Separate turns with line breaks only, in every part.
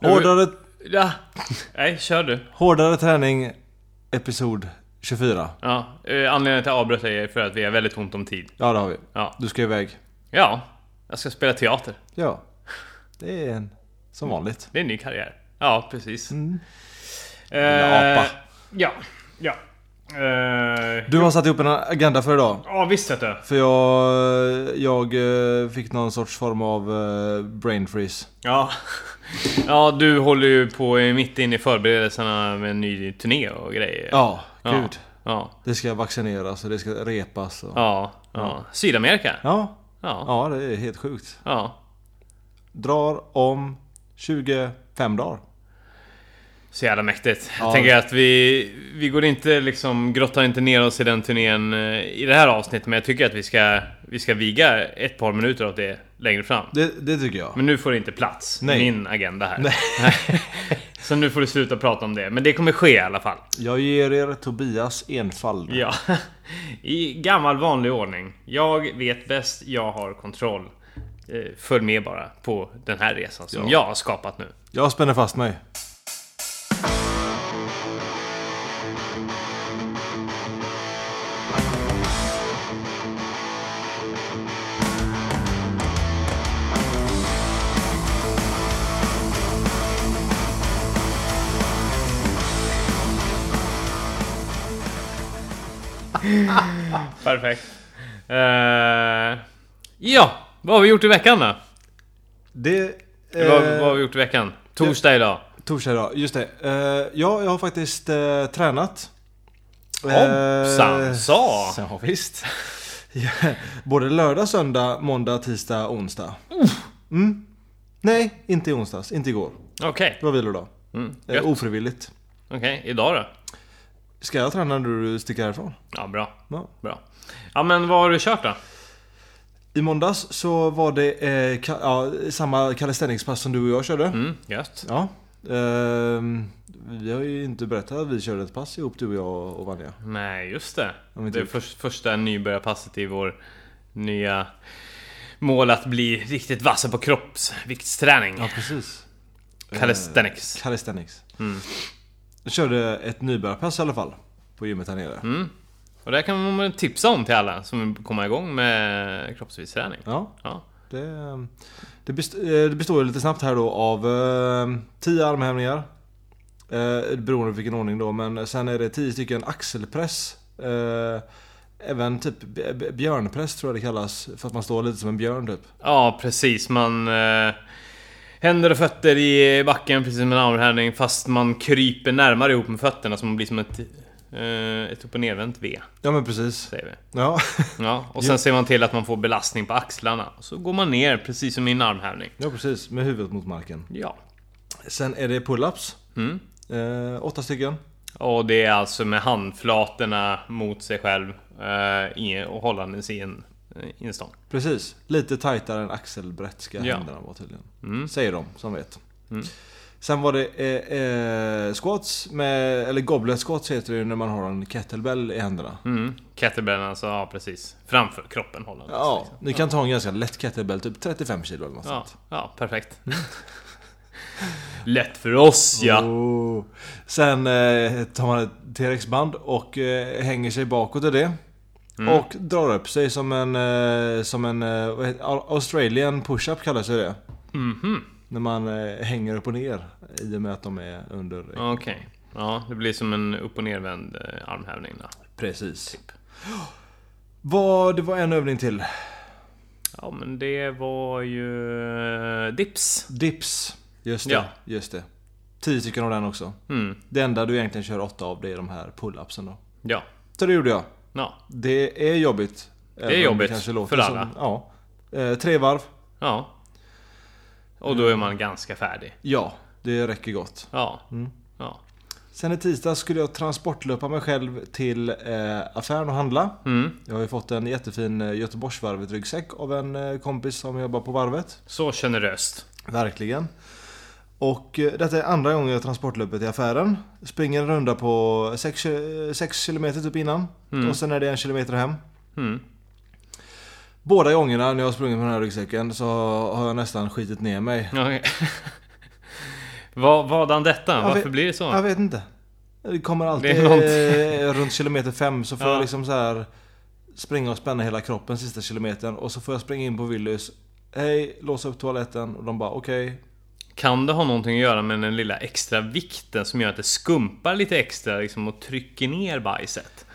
Hårdare,
Ja. Nej, kör du.
hårdare träning, episod 24.
Ja. eh, Anledningen till att jag avbröt dig är för att vi har väldigt ont om tid.
Ja, det har vi.
Ja.
Du ska iväg.
Ja. Jag ska spela teater.
Ja. Det är en, som vanligt.
Det är en ny karriär. Ja, precis. Eh,
Lilla apa.
Ja. Ja. Eh,
Du har satt ihop en agenda för idag.
Ja, visst vet du.
För jag, jag eh, fick någon sorts form av eh, brain freeze.
Ja. ja, du håller ju på mitt inne i förberedelserna med en ny turné och grejer.
Ja,
Ja.
gud.
Ja.
Det ska vaccineras och det ska repas. Och...
Ja. ja. Sydamerika.
Ja.
Ja.
ja, det är helt sjukt.
Ja.
Drar om 25 dagar.
Så jävla mäktigt.
Ja.
Jag tänker att vi, vi går inte liksom, grottar inte ner oss i den turnén eh, i det här avsnittet. Men jag tycker att vi ska, vi ska viga ett par minuter åt det längre fram.
Det, det tycker jag.
Men nu får det inte plats
Nej.
i min agenda här. Så nu får du sluta prata om det. Men det kommer ske i alla fall.
Jag ger er Tobias enfald.
Ja. I gammal vanlig ordning. Jag vet bäst, jag har kontroll. Eh, Följ med bara på den här resan som
Ja.
jag har skapat nu.
Jag spänner fast mig.
Perfekt. Eh, ja, vad har vi gjort i veckan då?
Det...
Vad,
eh,
vad har vi gjort i veckan? Torsdag idag.
Torsdag idag, just det. Eh, ja, jag har faktiskt eh, tränat. Eh,
Hoppsan sa!
Ja, Eh, visst. Ja, Både lördag, söndag, måndag, tisdag, onsdag. Mm. Nej, inte i onsdags. Inte igår.
Okej,
Det var vilodag.
mm,
Eh,
gött.
ofrivilligt.
Okej, idag då?
Ska jag träna när du sticker härifrån?
Ja, bra.
Ja.
bra. Ja men vad har du kört då?
I måndags så var det eh, ka- ja, samma calisthenicspass som du och jag körde.
Mm, gött.
Ja. Ehm, vi har ju inte berättat att vi körde ett pass ihop du och jag och Vanja.
Nej, just det.
Ja, men
Det är
typ.
för, första nybörjarpasset i vår nya mål att bli riktigt vassa på kroppsviktsträning.
Ja, eh. precis.
Calisthenics.
Calisthenics. Jag körde ett nybörjarpass i alla fall. På gymmet här nere.
Mm. Och det här kan man tipsa om till alla som vill komma igång med kroppsviktsträning.
Ja,
Ja.
det, det, best, eh, det består ju lite snabbt här då av 10 armhävningar. Eh, beroende på vilken ordning då. Men sen är det 10 stycken axelpress. Eh, även typ b- b- björnpress tror jag det kallas. För att man står lite som en björn typ.
Ja, precis. Man... Eh, händer och fötter i backen precis som en armhävning fast man kryper närmare ihop med fötterna så man blir som ett... Eh, ett upp och nervänt V,
Ja men precis.
säger vi.
Ja,
Ja, och sen ser man till att man får belastning på axlarna. Och så går man ner precis som i en armhävning.
ja precis. Med huvudet mot marken.
Ja.
Sen är det pull-ups.
Mm.
Eh, åtta stycken.
Och det är alltså med handflatorna mot sig själv eh, i- och hållandes i en, i en stång.
Precis, lite tajtare än axelbrett ska
Ja.
händerna vara tydligen.
Mm.
Säger de som vet.
Mm.
Sen var det eh, eh, squats, med, eller goblet squats heter det ju när man har en kettlebell i händerna.
Mm. Kettlebellen alltså, ja precis. Framför kroppen hållandes.
Ja,
liksom.
ni kan ta en ganska lätt kettlebell, typ 35 kilo eller något
Ja,
sånt.
ja, perfekt. Lätt för oss ja!
Oh. Sen eh, tar man ett T-rex-band och eh, hänger sig bakåt i det.
Mm.
Och drar upp sig som en, eh, som en eh, vad heter, Australian push-up kallas ju det.
Mhm,
När man eh, hänger upp och ner i och med att de är under...
Okej. Ja, det blir som en upp och nervänd eh, armhävning då.
Precis. Typ. Vad, det var en övning till.
Ja men det var ju... eh, Dips.
Dips. Just det.
Ja.
Just det. Tio stycken av den också.
Mm.
Det enda du egentligen kör åtta av det är de här pull-upsen då.
Ja.
Så det gjorde jag.
Ja.
Det är jobbigt. även om
jobbigt
kanske
för
låter
alla.
Som, ja. Eh, tre varv.
Ja. Och då är man ganska färdig.
Ja, det räcker gott.
Ja.
Mm.
Ja.
Sen i tisdag skulle jag transportlöpa mig själv till eh, affären och handla.
Mm.
Jag har ju fått en jättefin eh, Göteborgsvarvet-ryggsäck av en eh, kompis som jobbar på varvet.
Så generöst.
Verkligen. Och eh, detta är andra gången jag transportlöpet i affären. Springer en runda på 6 km typ innan. Och sen är det en kilometer hem.
Mm.
Båda gångerna när jag har sprungit med den här ryggsäcken så har jag nästan skitit ner mig.
Okej. Vad vad han detta?
Jag
Varför
vet-
blir det så?
Jag vet inte. Det kommer alltid
Det är någonting.
eh, runt kilometer fem så får
Ja.
jag liksom så här springa och spänna hela kroppen sista kilometern och så får jag springa in på Willys. Hej, låsa upp toaletten och de bara okej.
Kan det ha någonting att göra med den lilla extra vikten som gör att det skumpar lite extra liksom, och trycker ner bajset?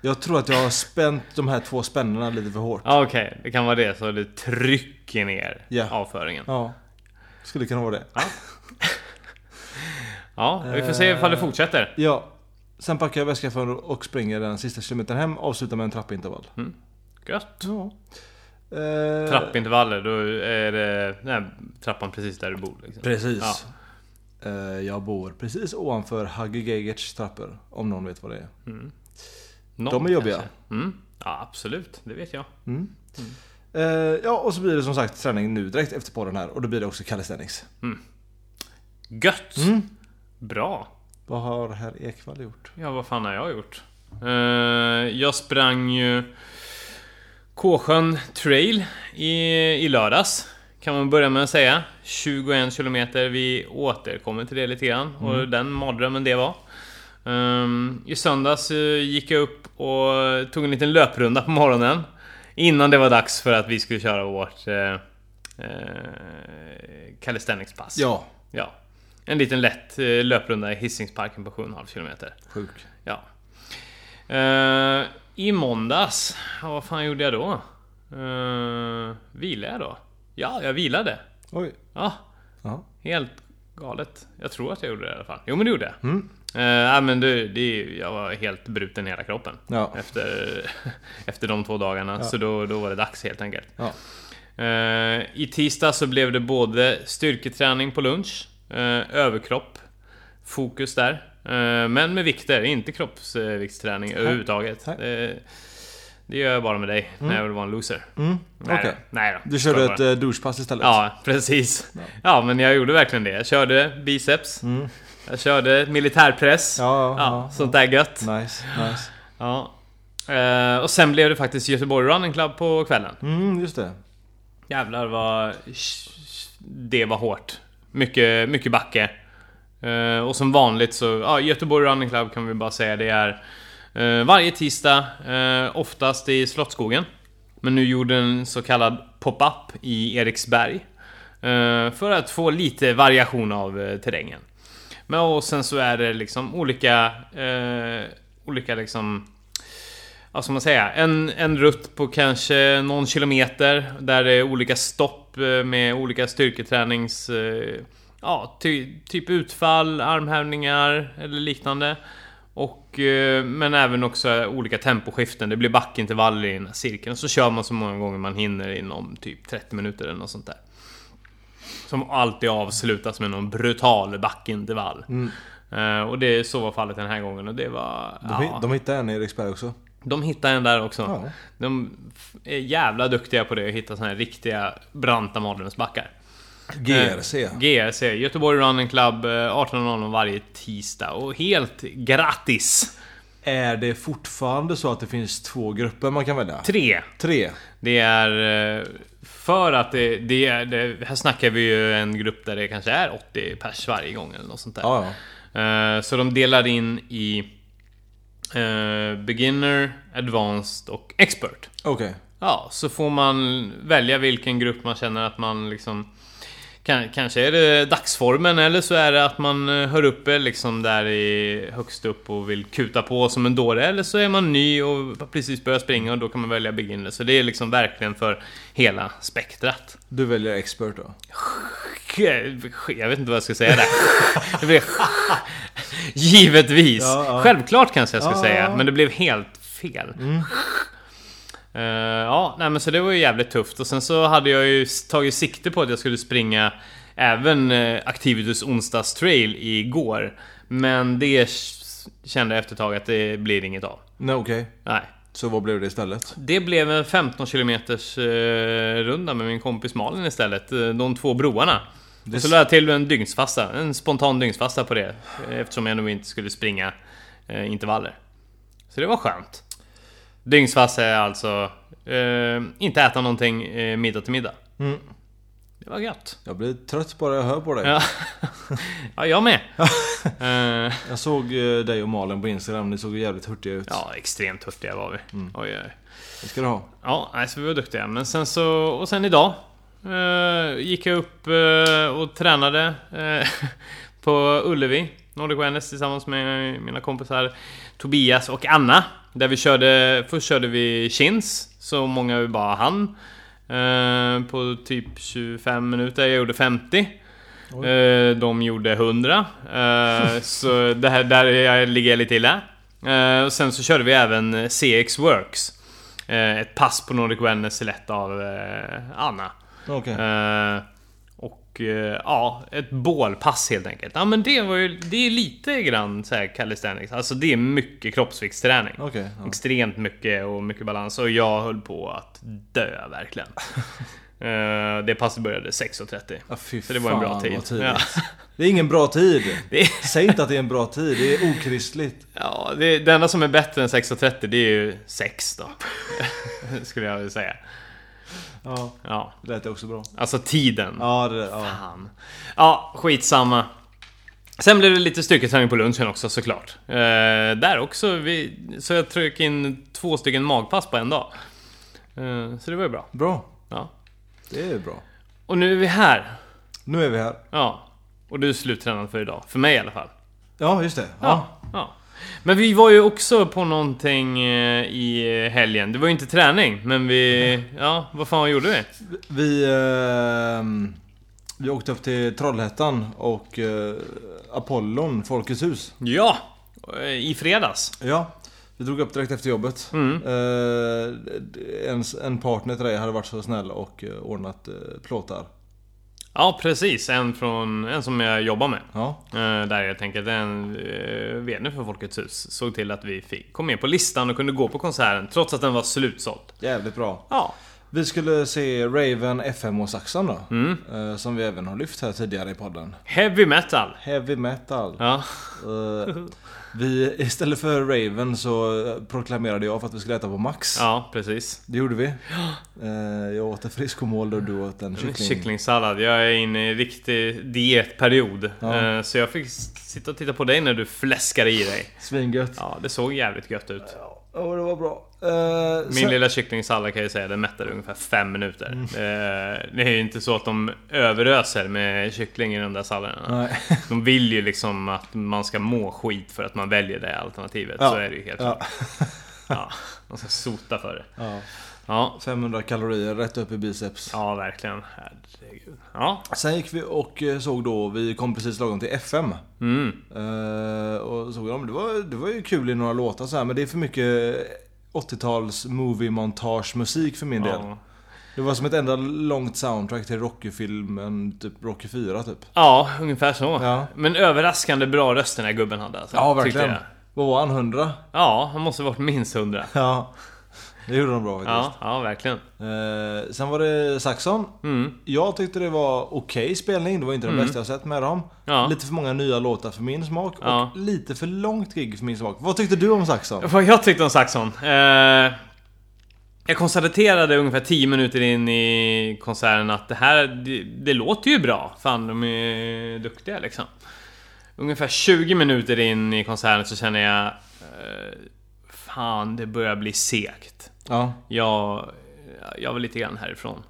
Jag tror att jag har spänt de här två spännena lite för hårt.
Ja, Okej, det kan vara det. Så det trycker ner
Ja.
avföringen.
Ja. Skulle kunna vara det.
Ja, vi får se ifall
Eh.
det fortsätter.
Ja. Sen packar jag väskan för och springer den sista kilometern hem. Avslutar med en trappintervall.
Gött.
Ja. Eh,
Trappintervaller, då är det nej, trappan precis där du bor. Liksom.
Precis.
Ja.
Eh, jag bor precis ovanför Hagge Geigerts trappor. Om någon vet vad det är.
Någon,
De är jobbiga.
kanske. Mm. Ja, absolut. Det vet jag.
Eh, ja, och så blir det som sagt träning nu direkt efter podden här. Och då blir det också calisthenics.
Gött!
Mm.
Bra!
Vad har herr Ekvall gjort?
Ja, vad fan har jag gjort? Eh, jag sprang ju Kåsjön trail i, i lördags. Kan man börja med att säga. 21 kilometer, vi återkommer till det lite grann. Och den mardrömmen det var. Ehm, I söndags eh, gick jag upp och tog en liten löprunda på morgonen. Innan det var dags för att vi skulle köra vårt eh, eh, calisthenics-pass.
Ja.
Ja. En liten lätt eh, löprunda i Hisingsparken på 7,5 kilometer.
Sjuk.
Ja. Eh, I måndags, ja, vad fan gjorde jag då? Uh, vilade jag då? Ja, jag vilade.
Oj.
Ja,
Ja.
helt galet. Jag tror att jag gjorde det i alla fall. Jo men det gjorde jag. Eh, nej, men du, det, är ju- jag var helt bruten i hela kroppen.
Ja.
Efter, efter de två dagarna. Så då, då var det dags helt enkelt.
Ja.
Eh, I tisdag så blev det både styrketräning på lunch, eh, överkropp, fokus där. eh, men med vikter, inte kroppsviktsträning överhuvudtaget.
Nej.
Det, det gör jag bara med dig när jag vill vara en loser.
Mm.
Nej,
Okej.
då. nej då.
Du
Skojar
körde
bara.
ett eh, douchepass istället?
Ja, precis. Ja. men jag gjorde verkligen det. Jag körde biceps. Jag körde militärpress.
Mm. Ja, ja, ja.
sånt där gött.
Nice, nice.
Ja. Eh, och sen blev det faktiskt Göteborg Running Club på kvällen.
Mm, just det.
Jävlar vad... Det var hårt. Mycket, mycket backe. Eh, och som vanligt så, ja Göteborg Running Club kan vi bara säga det är eh, varje tisdag, eh, oftast i Slottsskogen. Men nu gjorde en så kallad pop-up i Eriksberg. eh, för att få lite variation av eh, terrängen. Men och sen så är det liksom olika, eh, olika liksom ja, som man säga, en, en rutt på kanske någon kilometer där det är olika stopp eh, med olika styrketränings... eh, Ja, ty, typ utfall, armhävningar eller liknande. Och, eh, men även också olika temposkiften. Det blir backintervaller i den här cirkeln. Och så kör man så många gånger man hinner inom typ 30 minuter eller något sånt där. Som alltid avslutas med någon brutal backintervall. Eh, och det så var fallet den här gången och det var...
De, hi-
ja.
de hittade en i Eriksberg också.
De hittar en där också.
Ja.
De f- är jävla duktiga på det, att hitta såna här riktiga branta mardrömsbackar.
GRC.
Eh, GRC, Göteborg Running Club, eh, 18.00 varje tisdag. Och helt gratis!
Är det fortfarande så att det finns två grupper man kan välja?
Tre!
Tre.
Det är... eh, För att det, det, är- det... Här snackar vi ju en grupp där det kanske är 80 pers varje gång eller något sånt där.
Ja, ja.
Eh, Så de delar in i... eh, beginner, Advanced och Expert.
Okej.
Ja, så får man välja vilken grupp man känner att man liksom... Kan, kanske är det dagsformen eller så är det att man eh, hör uppe liksom där i högst upp och vill kuta på som en dåre. Eller så är man ny och precis börjar springa och då kan man välja beginner. Så det är liksom verkligen för hela spektrat.
Du väljer expert då?
Jag vet inte vad jag ska säga där. Det blev Givetvis!
Ja, ja.
Självklart kanske jag ska
Ja,
säga,
ja. Mm.
men det blev helt fel. Eh, ja, nej men så det var ju jävligt tufft. Och sen så hade jag ju s- tagit sikte på att jag skulle springa även uh, Activitus onsdags trail igår. Men det s- kände jag efter ett tag att det blir inget av.
Nej, okej.
Nej.
Så vad blev det istället?
Det blev en 15 km runda med min kompis Malin istället. eh, De två broarna. Och så la jag till en dygnsfasta, en spontan dygnsfasta på det. eh, Eftersom jag nog inte skulle springa eh, intervaller. Så det var skönt. Dygnsfasta är alltså eh, inte äta någonting eh, middag till middag. Det var gött.
Jag blir trött bara jag hör på dig.
Ja. ja, jag med. Eh,
Jag såg eh, dig och Malin på Instagram, ni såg ju jävligt hurtiga ut.
ja, extremt hurtiga var vi. Oj, oj.
Det ska du ha.
Ja, nej, så vi var duktiga. Men sen så, och sen idag eh, gick jag upp eh, och tränade eh, på Ullevi, Nordic Wellness, tillsammans med mina kompisar Tobias och Anna. Där vi körde, först körde vi chins, så många vi bara hann. Eh, på typ 25 minuter, jag gjorde 50. Eh, de gjorde 100. Eh, så det här, där jag ligger jag lite illa. Eh, och sen så körde vi även eh, CX Works. Eh, ett pass på Nordic Wellness lett av eh, Anna.
Okej.
Eh, och eh, ja, ett bålpass helt enkelt. Ja men det var ju, det är lite grann så här calisthenics. Alltså det är mycket kroppsviktsträning.
Okej, ja.
Extremt mycket och mycket balans. Och jag höll på att dö verkligen. Eh, det passet började 6.30.
Ja, fy
Så det var en bra
fan,
tid.
vad tidigt.
Ja.
Det är ingen bra tid.
Det är-
Säg inte att det är en bra tid, det är okristligt.
Ja, det, det enda som är bättre än 6.30 det är ju 6 då. Skulle jag vilja säga.
Ja,
Ja,
det lät också bra.
alltså tiden.
Ja, det där, ja.
Fan. Ja, skitsamma. Sen blev det lite styrketräning på lunchen också såklart. Eh, där också. Vi, så jag tryckte in två stycken magpass på en dag. Eh, så det var ju bra.
Bra.
Ja.
Det är bra.
Och nu är vi här.
Nu är vi här.
Ja. Och du är sluttränad för idag. För mig i alla fall.
Ja, just det. Ja.
Ja. ja. Men vi var ju också på någonting eh, i helgen. Det var ju inte träning, men vi... Ja, vad fan gjorde vi?
Vi, ehm, vi åkte upp till Trollhättan och eh, Apollon, Folkets hus.
Ja! eh, I fredags.
Ja, Mm. vi drog upp direkt efter jobbet. Eh, en, en partner till dig hade varit så snäll och eh, ordnat eh, plåtar.
Ja, precis. En, från, en som jag jobbar med.
Ja,
Eh, Där helt enkelt. En eh, VD för Folkets hus såg till att vi fick, kom med på listan och kunde gå på konserten trots att den var slutsåld.
jävligt bra.
Ja.
Vi skulle se Raven, FM och Saxon då. Eh, som vi även har lyft här tidigare i podden.
Heavy metal.
Heavy metal.
Ja.
Eh, vi, istället för Raven så eh, proklamerade jag för att vi skulle äta på Max.
Ja, precis.
Det gjorde vi. Eh, jag åt en friskomål och du åt
Mm,
en kyckling.
Kycklingsallad. Jag är inne i riktig dietperiod.
Ja.
Eh, Så jag fick s- sitta och titta på dig när du fläskade i dig.
Svingött.
Ja, det såg jävligt gött ut.
Ja, det var bra. Eh,
Min lilla kycklingsallad kan jag säga, den mättade ungefär fem minuter.
Mm.
Eh, Det är ju inte så att de överöser med kyckling i de där salladerna.
Nej.
De vill ju liksom att man ska må skit för att man väljer det alternativet.
Ja.
Så är det ju helt klart.
Ja.
Ja. Man ska sota för det.
Ja.
Ja,
500 kalorier rätt upp i biceps.
ja verkligen. Herregud. Ja.
Sen gick vi och eh, såg då, vi kom precis lagom till FM.
Mm.
Eh, och såg dem. Det var, det var ju kul i några låtar så här, men det är för mycket 80-tals movie-montage-musik för min del.
Ja.
Det var som ett enda långt soundtrack till Rocky-filmen, typ Rocky 4 typ.
ja, ungefär så.
Ja.
Men överraskande bra röst den här gubben hade. Alltså,
Ja,
tyckte
verkligen.
jag.
Vad var han? 100?
Ja, han måste varit minst hundra.
Ja. Det gjorde de bra faktiskt.
Ja, ja, verkligen.
Eh, sen var det Saxon.
Mm.
Jag tyckte det var okej spelning, det var inte den bästa jag sett med dem.
Ja.
Lite för många nya låtar för min smak
Ja.
och lite för långt gig för min smak. Vad tyckte du om Saxon?
Vad jag tyckte om Saxon? Eh, jag konstaterade ungefär 10 minuter in i konserten att det här, det, det låter ju bra. Fan, de är duktiga liksom. Ungefär 20 minuter in i konserten så känner jag... Eh, fan, det börjar bli segt.
Ja.
Jag, jag var lite grann härifrån.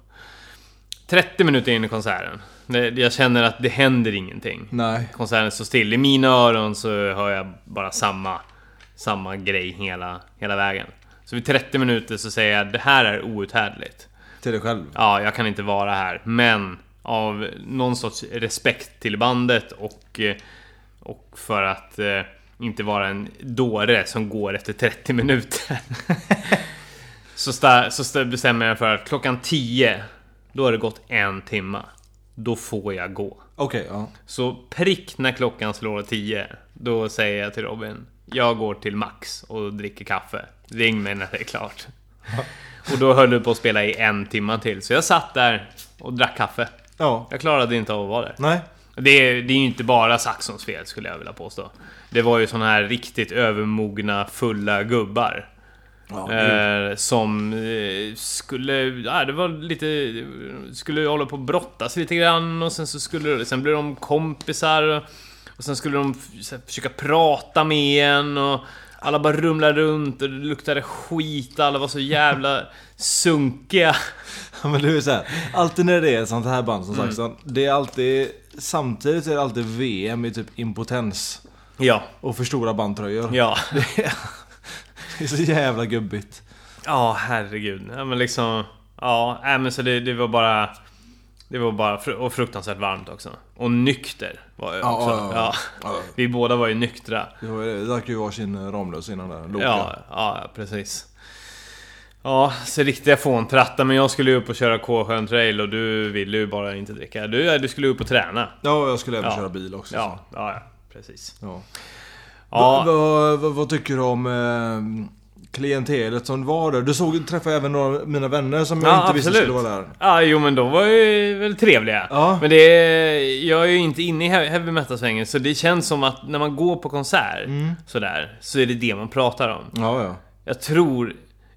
30 minuter in i konserten. det- Jag känner att det händer ingenting
Nej.
konserten står still. I mina öron så hör jag bara samma, samma grej hela, hela vägen. Så vid 30 minuter så säger jag det här är outhärdligt.
Till dig själv?
Ja, jag kan inte vara här, men av någon sorts respekt till bandet och, eh, och för att eh, inte vara en dåre som går efter 30 minuter. så sta- så sta- bestämmer jag för att klockan 10, då har det gått en timma. Då får jag gå.
Okej, ja.
Så prick när klockan slår 10, då säger jag till Robin, jag går till Max och dricker kaffe. Ring mig när det är klart. Och då höll du på att spela i en timma till, så jag satt där och drack kaffe.
Ja.
Jag klarade inte av att vara där.
Nej.
Det är, det är ju inte bara Saxons fel skulle jag vilja påstå. Det var ju såna här riktigt övermogna, fulla gubbar.
Ja,
Eh, som eh, skulle, ja, det var lite, skulle hålla på att brottas lite grann och sen så skulle det, sen blev de kompisar och sen skulle de f- så här, försöka prata med en och alla bara rumlade runt och det luktade skit, alla var så jävla sunkiga.
Ja, men du är så här, alltid när det är ett sånt här band
Mm.
som Saxon, det är alltid... Samtidigt är det alltid VM i typ impotens
Ja,
och för stora bandtröjor.
ja.
Det är så jävla gubbigt.
Ja, herregud. Ja, men liksom... Ja, nej, men så det, det var bara... Det var bara fru- och fruktansvärt varmt också. Och nykter var jag
Ja,
också.
ja, ja. Ja.
Vi båda var ju nyktra.
Det var ju det. Vi drack ju varsin eh, Ramlös innan där. Loka.
Ja, ja, precis. Ja, så riktiga fåntratta. Men jag skulle ju upp och köra K-sjön trail och du ville ju bara inte dricka. Du, ja, du skulle upp och träna.
ja, och jag skulle även
Ja.
köra bil också.
Ja, ja, ja precis.
så. Ja.
Ja,
Vad- Vad, vad, vad tycker du om eh, klientelet som var där? Du såg, träffade även några av mina vänner som jag
Ja,
inte visste skulle
absolut.
vara där.
Ja, jo men de var ju väl trevliga.
Ja.
Men det är, jag är ju inte inne i he- heavy metal-svängen, så det känns som att när man går på konsert
Mm.
sådär, så är det det man pratar om.
Ja, ja.
Jag tror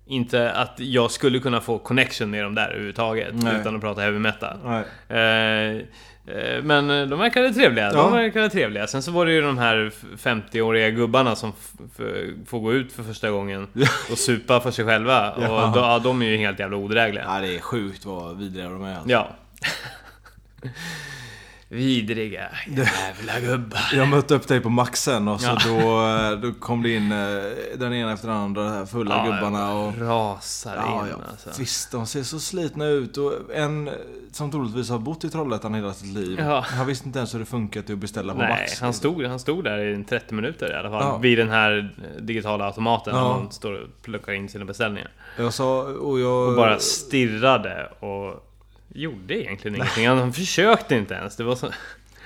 inte att jag skulle kunna få connection med dem där överhuvudtaget,
Nej.
utan att prata heavy metal.
Nej.
Eh, eh, Men de verkade trevliga.
Ja.
De verkade trevliga. Sen så var det ju de här 50-åriga gubbarna som f- f- får gå ut för första gången och supa för sig själva. Och då, ja, de är ju helt jävla odrägliga.
Ja, det är sjukt vad vidriga de är. alltså.
Ja. Vidriga jävla gubbar.
Jag mötte upp dig på Maxen och så
Ja.
då, eh, då kom det in eh, den ena efter den andra, de här fulla
Ja,
gubbarna. Och,
Rasar
ja,
in
ja,
alltså.
Visst, de ser så slitna ut. Och en eh, som troligtvis har bott i Trollhättan hela sitt liv.
Ja.
Han visste inte ens hur det funkade att beställa på
Nej,
Max.
han stod, han stod där i 30 minuter i alla fall.
Ja.
Vid den här eh, digitala automaten
Ja.
där man står och plockar in sina beställningar.
Jag sa, och jag...
Och bara stirrade och gjorde egentligen ingenting. Han, han försökte inte ens. Det var så...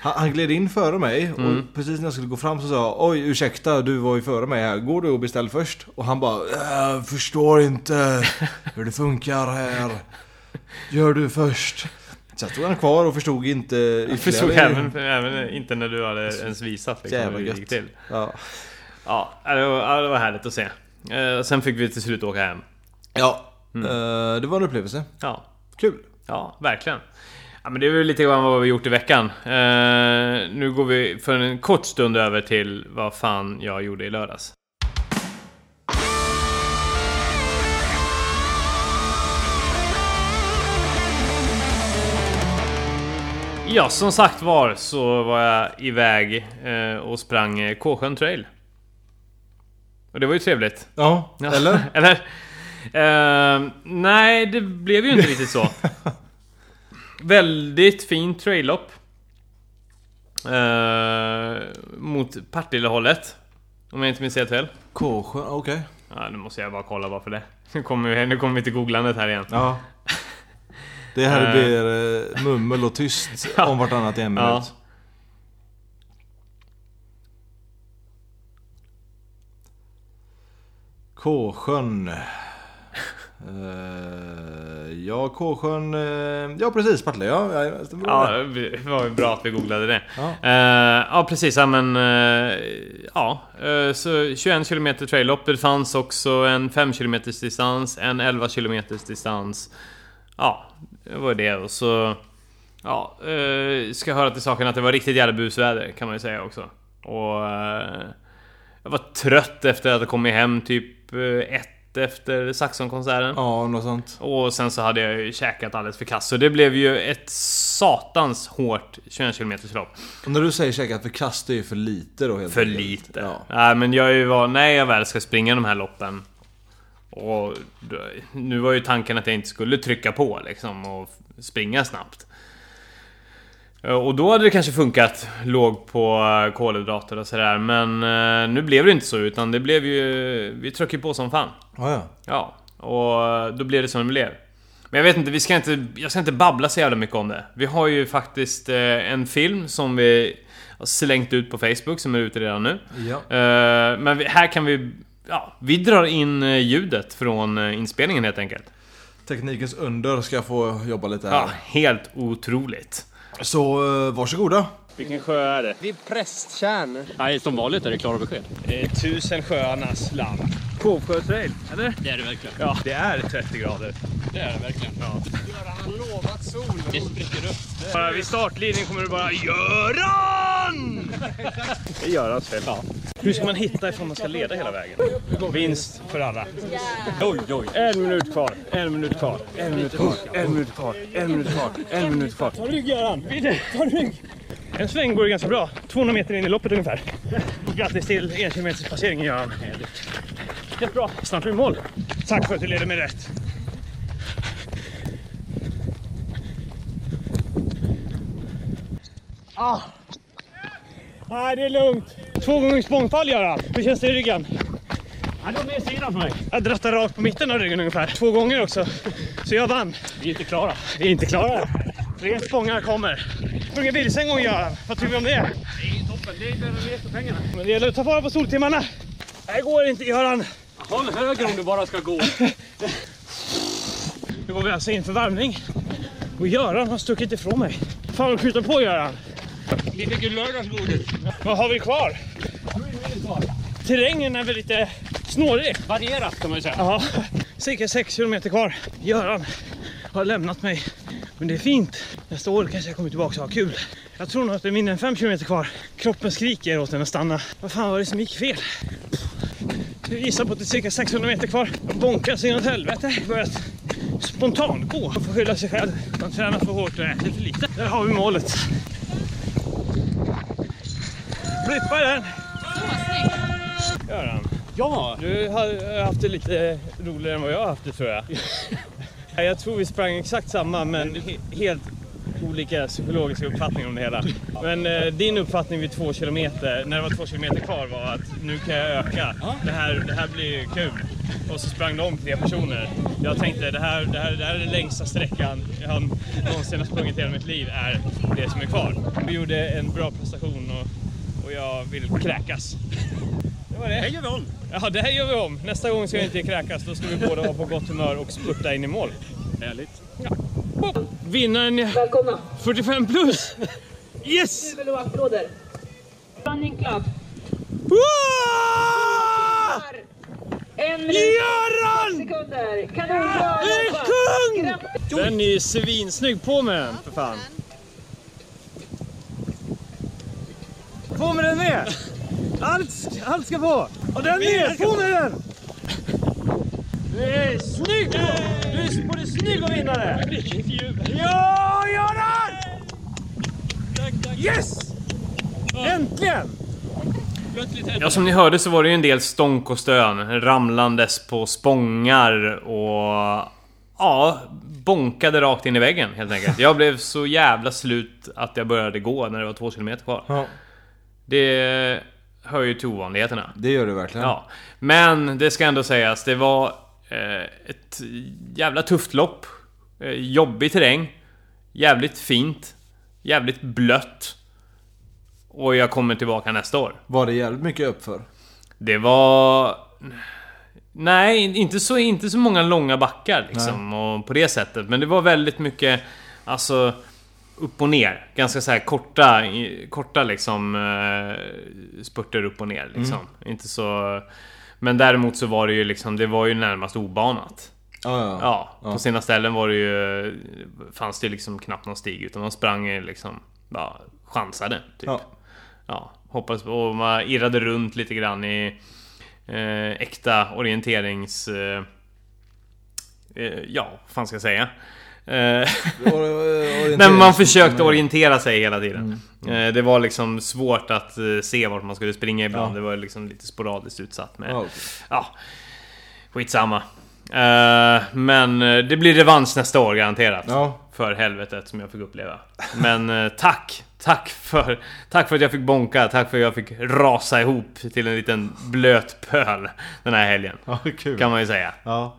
Han, han gled in före mig
Mm.
och precis när jag skulle gå fram så sa jag Oj ursäkta du var ju före mig här, går du och beställ först? Och han bara "Äh, Förstår inte hur det funkar här Gör du först Sen stod han kvar och förstod inte ytterligare
Jag förstod även, även inte när du hade ens visat liksom,
Jävla
hur det
gött.
gick till.
Ja,
Ja, det var, ja, det var härligt att se. Eh, sen fick vi till slut åka hem.
ja.
Mm.
Eh, det var en upplevelse
Ja,
Kul
Ja, verkligen. Ja, men det är väl lite grann vad vi gjort i veckan. Eh, nu går vi för en kort stund över till vad fan jag gjorde i lördags. Ja, som sagt var så var jag iväg eh, och sprang eh, Kåsjön trail. Och det var ju trevligt.
Ja,
Ja,
eller?
Eller? Ehm, nej, det blev ju inte riktigt så. Väldigt fin trail-up. Ehm, mot Partillehållet. Om jag inte minns helt fel.
Kåsjö, okej
Ja, nu måste jag bara kolla bara för det. Nu kommer vi, nu kommer vi till googlandet här igen.
Ja Det här blir eh, mummel och tyst om vartannat i en minut
Ja.
K-sjön. Eh, ja, K-sjön. eh, ja, precis. Partille, ja. ja, det var det.
Ja, det var ju bra att vi googlade det.
Ja.
Eh, ja precis, ja men... eh, ja, eh, så 21 km trail-up. Det fanns också en 5 km distans, en 11 km distans. Ja, det var det och så... Ja, eh, ska höra till saken att det var riktigt jävla busväder kan man ju säga också. Och... eh, jag var trött efter att ha kommit hem typ eh, ett efter Saxonkonserten.
ja, något sånt.
Och sen så hade jag ju käkat alldeles för kass, så det blev ju ett satans hårt 21 km lopp.
Och när du säger käkat för kast, det är ju för lite då helt
För
enkelt.
lite.
Ja.
Nej men jag är ju var, när jag väl ska springa de här loppen och då- nu var ju tanken att jag inte skulle trycka på liksom och f- springa snabbt. Eh, Och då hade det kanske funkat, låg på eh, kolhydrater och sådär. Men eh, nu blev det inte så utan det blev ju... Vi tryckte på som fan.
Ja, ja.
Ja, och då blev det som det blev. Men jag vet inte, vi ska inte, jag ska inte babbla så jävla mycket om det. Vi har ju faktiskt eh, en film som vi har slängt ut på Facebook som är ute redan nu.
Ja.
Eh, men vi, här kan vi... Ja, vi drar in eh, ljudet från eh, inspelningen helt enkelt.
Teknikens under ska få jobba lite här.
Ja, helt otroligt.
Så eh, varsågoda.
Vilken sjö är det?
Vid Prästtjärn.
Nej, som vanligt är det klara besked.
tusen sjöarnas land.
Kovsjö trail, eller?
Det är det verkligen.
Ja, det är 30 grader.
Det är det verkligen.
Göran har lovat sol.
Det spricker upp.
Bara vid startlinjen kommer du bara Göran! Det gör han själv. Hur ska man hitta ifall man ska leda hela vägen? Vinst för alla.
Oj, oj.
En minut kvar, en minut kvar, en minut kvar, en minut kvar, en minut kvar, en minut kvar. Ta rygg Göran! Ta rygg! En sväng går det ganska bra. 200 meter in i loppet ungefär. Grattis till enkilometerspasseringen Göran. Jättebra. Snart är vi i mål. Tack för att du ledde mig rätt. Ah. Nej, det är lugnt. Två gånger spångfall Göran. Hur känns det i ryggen?
Han är med sidan på mig.
Jag drattade rakt på mitten av ryggen ungefär. Två gånger också. Så jag vann.
Vi är inte klara.
Vi är inte klara. Tre spångar kommer. Sprungit vilse en gång Göran. Vad tycker vi om det?
Det är toppen. Det är där de letar pengarna.
Men det gäller att ta vara på soltimmarna. Det här går inte Göran.
Håll höger om du bara ska gå.
Nu går vi alltså in för värmning. Och Göran har stuckit ifrån mig. Fan vad skjuter på Göran.
Vi fick ju lördagsgodis.
Vad har vi kvar? Terrängen är väl lite snårig.
Varierat kan man ju säga.
Ja, cirka 6 kilometer kvar. Göran har lämnat mig. Men det är fint. Nästa år kanske jag kommer tillbaka och har kul. Jag tror nog att det är mindre än 5 kilometer kvar. Kroppen skriker åt en att stanna. Vad fan var det som gick fel? Jag gissar på att det är cirka 600 meter kvar. Jag bonkar sig åt helvete. Börjat spontant gå. Man får skylla sig själv. Man tränar för hårt och äter för lite. Där har vi målet. Blippa i den! Göran.
Ja,
Du har haft det lite roligare än vad jag har haft det tror jag. Nej, jag tror vi sprang exakt samma men he- helt olika psykologiska uppfattningar om det hela. Men eh, din uppfattning vid två kilometer, när det var två kilometer kvar var att nu kan jag öka. Det här, det här blir ju kul. Och så sprang de om tre personer. Jag tänkte det här, det här, det här är den längsta sträckan jag någonsin har sprungit i hela mitt liv är det som är kvar. Vi gjorde en bra prestation och, och jag vill kräkas. Det var det.
det gör vi om.
Ja, det här gör vi om. Nästa gång ska jag inte kräkas. Då ska vi båda vara på gott humör och spurta in i mål.
Härligt.
Boom! Vinnaren är
Välkomna!
45 plus! Yes!
Jubel och applåder! Running Club
Wow!
har en minut och
Göran!
sekunder. Kanonbra
Du är
jobbat!
kung!
Grattis!
Den är ju svinsnygg. På med den för fan. På med den med! Allt, allt ska på! Och den med! På med den! Du är snygg! Du är både snygg och vinnare!
Vilket jubel.
Ja, Göran! Yes! Äntligen!
Plötsligt
Ja, som ni hörde så var det ju en del stånk och stön. Ramlandes på spångar och... Ja, bonkade rakt in i väggen helt enkelt. Jag blev så jävla slut att jag började gå när det var två kilometer kvar.
Ja,
Det hör ju till ovanligheterna.
det gör det verkligen.
Ja. Men det ska ändå sägas, det var eh, ett jävla tufft lopp. Eh, jobbig terräng. Jävligt fint. Jävligt blött. Och jag kommer tillbaka nästa år.
Var det jävligt mycket uppför?
Det var... Nej, inte så, inte så många långa backar liksom, och på det sättet. Men det var väldigt mycket, alltså, upp och ner. Ganska så här korta, i- korta liksom, eh, spurter upp och ner liksom. Inte så... Men däremot så var det ju liksom, det var ju närmast obanat.
Ja, ja.
Ja, på sina ställen var det ju... Fanns det liksom knappt någon stig, utan man sprang ju liksom, bara chansade. Typ
Ja.
ja, hoppades på. Och man irrade runt lite grann i eh, äkta orienterings... Eh, eh, ja, vad fan ska jag säga? Eh,
Or- orienterings-
Nej, men man försökte orientera sig hela
Mm,
tiden. Eh, det var liksom svårt att eh, se vart man skulle springa ibland. Det var liksom lite sporadiskt utsatt med...
Ja, okej.
Ja, skitsamma. Eh, men eh, det blir revansch nästa år garanterat.
Ja.
För helvetet som jag fick uppleva. Men eh, tack! Tack för, tack för att jag fick bonka, tack för att jag fick rasa ihop till en liten blöt pöl den här helgen.
Ja, kul.
Kan man ju säga.
Ja.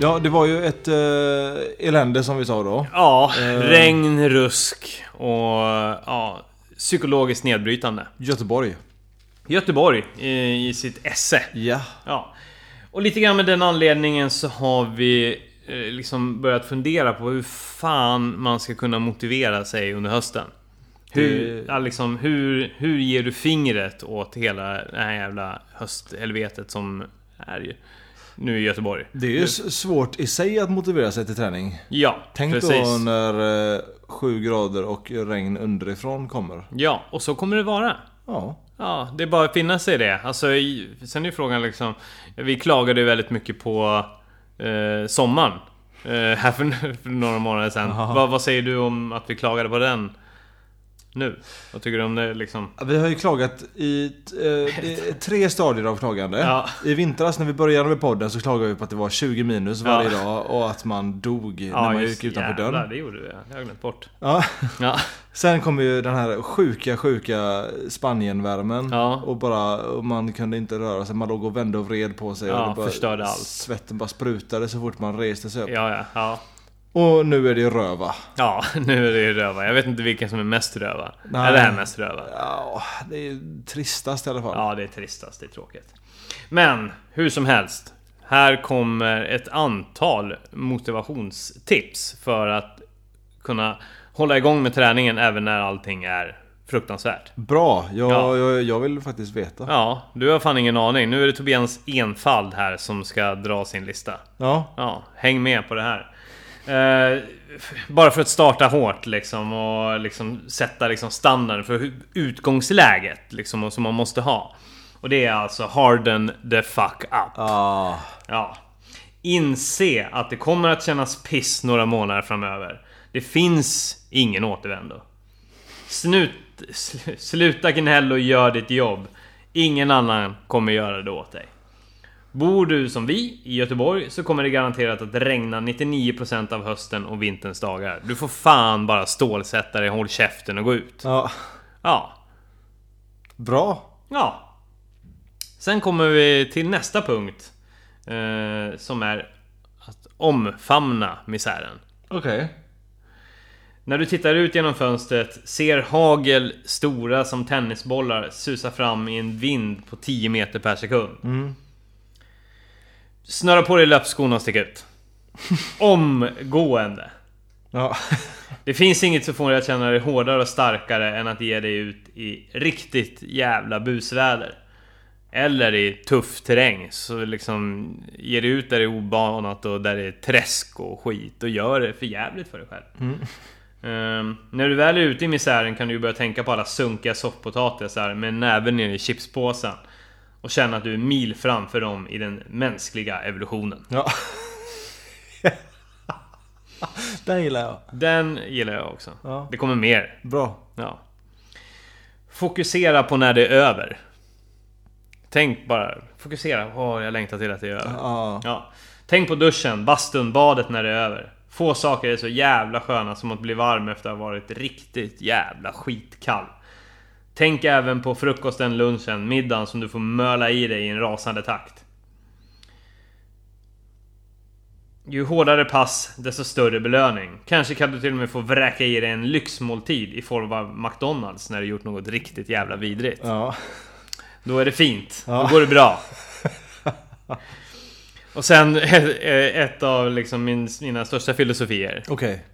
Ja, det var ju ett eh, elände som vi sa då.
Ja,
Eh.
regn, rusk och ja, psykologiskt nedbrytande.
Göteborg.
Göteborg i, i sitt esse.
Ja.
Ja. Och Och lite grann med den anledningen så har vi eh, liksom börjat fundera på hur fan man ska kunna motivera sig under hösten. Hur,
Det-
ja, liksom, hur, hur ger du fingret åt hela det här jävla hösthelvetet som är ju nu i Göteborg?
Det är ju s- svårt i sig att motivera sig till träning.
Ja,
Tänk
precis.
då när eh, sju grader och regn underifrån kommer.
Ja, och så kommer det vara.
Ja.
Ja, det är bara att finna sig i det. Alltså, i- sen är ju frågan liksom... Vi klagade ju väldigt mycket på eh, sommaren. Eh, här för, för några månader sedan. Vad, vad säger du om att vi klagade på den? Nu? Vad tycker du om det liksom?
Vi har ju klagat i t- eh, det är tre stadier av klagande.
Ja.
I vintras när vi började med podden så klagade vi på att det var 20 minus varje
Ja.
dag och att man dog när man gick utanför
jävlar,
dörren.
det gjorde vi. Det har jag glömt bort.
Ja.
Ja.
Sen kom ju den här sjuka, sjuka Spanienvärmen.
Ja.
Och bara, och man kunde inte röra sig. Man låg och vände och vred på sig.
Ja,
och det bara,
förstörde allt.
Svetten bara sprutade så fort man reste sig upp.
Ja, ja, ja.
Och nu är det ju röva.
Ja, nu är det ju röva. Jag vet inte vilken som är mest röva.
Nej.
Är det här mest röva?
Ja, det är ju tristast i alla fall.
Ja, det är tristast. Det är tråkigt. Men hur som helst. Här kommer ett antal motivationstips för att kunna hålla igång med träningen även när allting är fruktansvärt.
Bra, jag,
Ja.
jag, jag vill faktiskt veta.
Ja, du har fan ingen aning. Nu är det Tobias enfald här som ska dra sin lista.
Ja.
Ja, häng med på det här. Eh, f- bara för att starta hårt liksom och liksom sätta liksom standarden för hu- utgångsläget liksom och som man måste ha. Och det är alltså harden the fuck up.
Ah.
Ja. Inse att det kommer att kännas piss några månader framöver. Det finns ingen återvändo. Snut, sl, sluta gnäll och gör ditt jobb. Ingen annan kommer göra det åt dig. Bor du som vi i Göteborg så kommer det garanterat att regna 99% av hösten och vinterns dagar. Du får fan bara stålsätta dig, håll käften och gå ut.
Ja.
Ja,
Bra.
Ja. Sen kommer vi till nästa punkt. Eh, som är att omfamna misären.
Okej.
När du tittar ut genom fönstret, ser hagel stora som tennisbollar susa fram i en vind på 10 meter per sekund. Snöra på dig löpskorna och stick ut. Omgående.
Ja.
Det finns inget som får dig att känna dig hårdare och starkare än att ge dig ut i riktigt jävla busväder. Eller i tuff terräng. Så liksom, ge dig ut där det är obanat och där det är träsk och skit och gör det för jävligt för dig själv. Ehm, när du väl är ute i misären kan du ju börja tänka på alla sunkiga soffpotatisar med näven ner i chipspåsen. Och känna att du är mil framför dem i den mänskliga evolutionen.
ja. Den gillar jag.
Den gillar jag också.
Ja.
Det kommer mer.
Bra.
Ja. Fokusera på när det är över. Tänk bara, fokusera. Åh, jag längtar till att det är över.
Ja.
Ja. Tänk på duschen, bastun, badet när det är över. Få saker är så jävla sköna som att bli varm efter att ha varit riktigt jävla skitkall. Tänk även på frukosten, lunchen, middagen som du får möla i dig i en rasande takt. Ju hårdare pass, desto större belöning. Kanske kan du till och med få vräka i dig en lyxmåltid i form av McDonalds när du gjort något riktigt jävla vidrigt.
Ja.
Då är det fint.
Ja.
Då går det bra. Och sen eh, ett av liksom min, mina största filosofier.
Okej.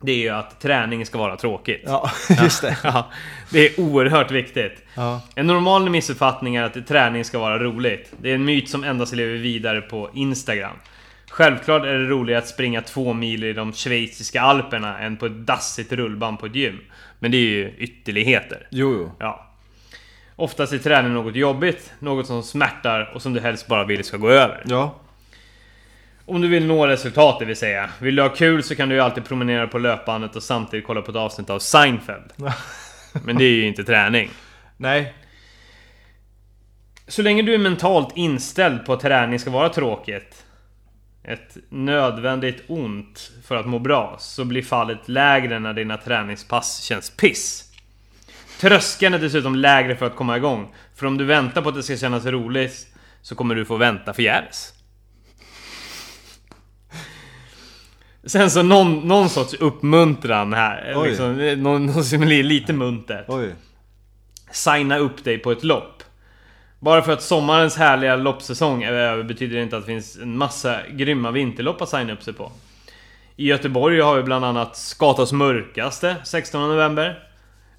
Det är ju att träning ska vara tråkigt.
Ja, just det.
Ja, det är oerhört viktigt.
Ja.
En normal missuppfattning är att träning ska vara roligt. Det är en myt som endast lever vidare på Instagram. Självklart är det roligare att springa två mil i de schweiziska alperna än på ett dassigt rullband på ett gym. Men det är ju ytterligheter.
Jo, jo.
Ja. Oftast är träning något jobbigt, något som smärtar och som du helst bara vill ska gå över.
Ja.
Om du vill nå resultat det vill säga. Vill du ha kul så kan du ju alltid promenera på löpbandet och samtidigt kolla på ett avsnitt av Seinfeld. Men det är ju inte träning.
Nej.
Så länge du är mentalt inställd på att träning ska vara tråkigt ett nödvändigt ont för att må bra så blir fallet lägre när dina träningspass känns piss. Tröskeln är dessutom lägre för att komma igång. För om du väntar på att det ska kännas roligt så kommer du få vänta förgäves. Sen så någon, någon sorts uppmuntran här.
Oj.
Liksom, eh, någon, någon som blir lite muntert.
Oj.
Signa upp dig på ett lopp. Bara för att sommarens härliga loppsäsong är över betyder det inte att det finns en massa grymma vinterlopp att signa upp sig på. I Göteborg har vi bland annat Skatas mörkaste 16 november.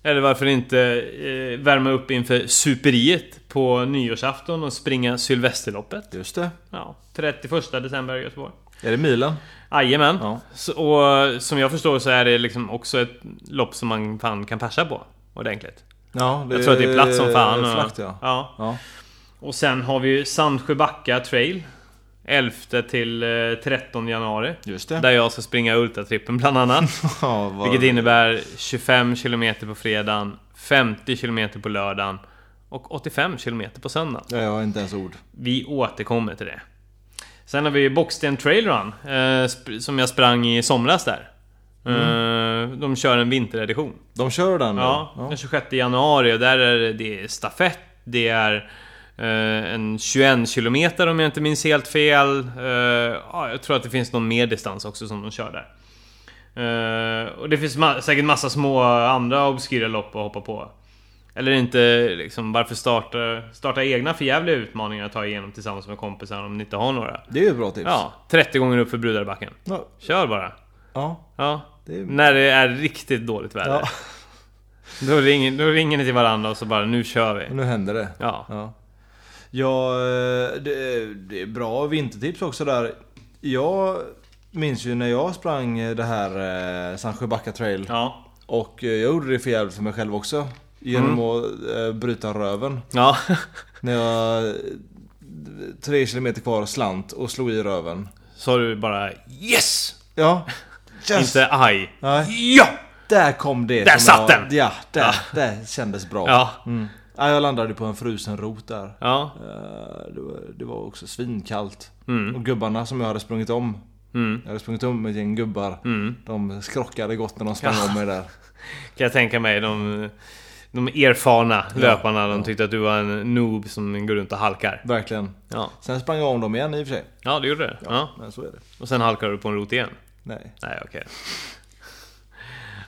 Eller varför inte eh, värma upp inför superiet på nyårsafton och springa Sylvesterloppet.
Just det.
Ja, 31 december i Göteborg.
Är det Milan?
Jajamän.
Ja.
Så- Och som jag förstår så är det liksom också ett lopp som man fan kan passa på ordentligt.
Ja, det
Jag tror att det är platt som fan. och-
Flackt Eh, ja.
ja.
ja.
Och sen har vi ju Sandsjöbacka trail. 11 till eh, 13 januari.
Just det.
Där jag ska springa ultratrippen bland annat.
Ja, vad-
Vilket innebär 25 km på fredagen, 50 km på lördagen och 85 km på söndagen.
Ja, jag har inte ens ord.
Vi återkommer till det. Sen har vi Bocksten Trail Run, eh, sp- som jag sprang i somras där. Eh, de kör en vinteredition.
De kör den nu?
Ja, den 26 januari och där är det, det är stafett, det är eh, en 21 kilometer om jag inte minns helt fel. Eh, ja, jag tror att det finns någon mer distans också som de kör där. Eh, och det finns ma- säkert massa små andra obskyra lopp att hoppa på. Eller inte liksom, varför starta, starta egna förjävliga utmaningar att ta igenom tillsammans med kompisar om ni inte har några.
Det är ju ett bra tips.
Ja, 30 gånger upp för Brudarbacken.
Ja.
Kör bara!
ja.
Ja,
Det är-
när det är riktigt dåligt väder.
Ja.
Då, ringer, då ringer ni till varandra och så bara nu kör vi.
Nu händer det.
Ja.
Ja, ja eh, det, det är bra vintertips också där. Jag minns ju när jag sprang eh, det här eh, Sandsjöbacka trail.
Ja.
Och eh, jag gjorde det för jävligt för mig själv också.
Mm.
Genom att eh, bryta röven.
Ja.
När jag... eh, Tre kilometer kvar slant och slog i röven.
Så du bara yes!
Ja.
Inte aj.
Nej,
Ja!
där kom det
Där
som
satt
jag,
den!
Ja, där, där kändes bra.
Ja.
Mm. Ja, jag landade på en frusen rot där.
Ja.
Eh, Det var, det var också svinkallt.
Mm.
Och gubbarna som jag hade sprungit om. Jag hade sprungit om med ett gäng gubbar.
Mm.
De skrockade gott när de sprang om mig där.
Kan jag tänka mig. De, de erfarna löparna, de tyckte att du var en noob som går runt och halkar.
Verkligen.
Ja,
Sen sprang jag om dem igen i och för sig.
ja det gjorde det. Ja.
Men så är det.
Och sen halkar du på en rot igen.
Nej.
Nej, okej.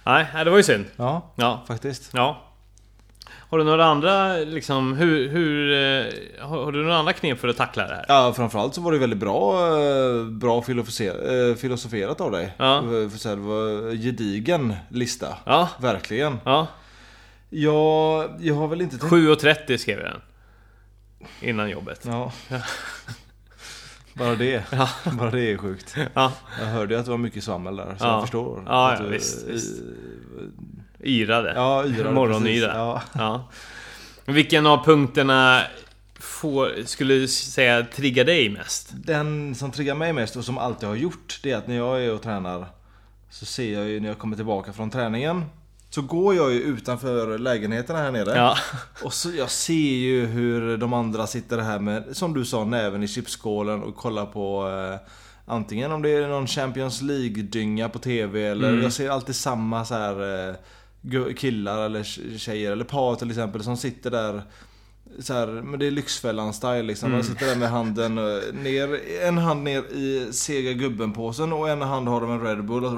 Nej, nej, det var ju synd.
Ja,
Ja,
faktiskt.
Ja. Har du några andra liksom, hur, hur, eh, har, har du några andra knep för att tackla det här?
Ja, framförallt så var det väldigt bra, eh, bra filosofer- eh, filosoferat av dig. Eh,
Ja.
För- för så här, Det var en gedigen lista.
Ja.
Verkligen.
Ja,
Ja, jag har väl inte tänkt...
7.30 skrev jag den. Innan jobbet.
Ja. Bara det. Bara det är sjukt.
Ja.
Jag hörde ju att det var mycket svammel där, så
Ja.
jag förstår.
Ja,
att
ja,
du-
visst,
i-
visst. Yrade.
Ja, yra,
Morgonyra.
precis. Ja.
Ja. Vilken av punkterna får, skulle du säga triggar dig mest?
Den som triggar mig mest och som alltid har gjort, det är att när jag är och tränar så ser jag ju när jag kommer tillbaka från träningen så går jag ju utanför lägenheterna här nere.
Ja.
Och så jag ser ju hur de andra sitter här med, som du sa, näven i chipsskålen och kollar på eh, Antingen om det är någon Champions League-dynga på TV eller jag ser alltid samma så här eh, gu- killar eller tj- tjejer eller par till exempel som sitter där så här, men det är Lyxfällan-style liksom. Man sitter där med handen eh, ner, en hand ner i sega gubben-påsen och en hand har de en Red Bull och så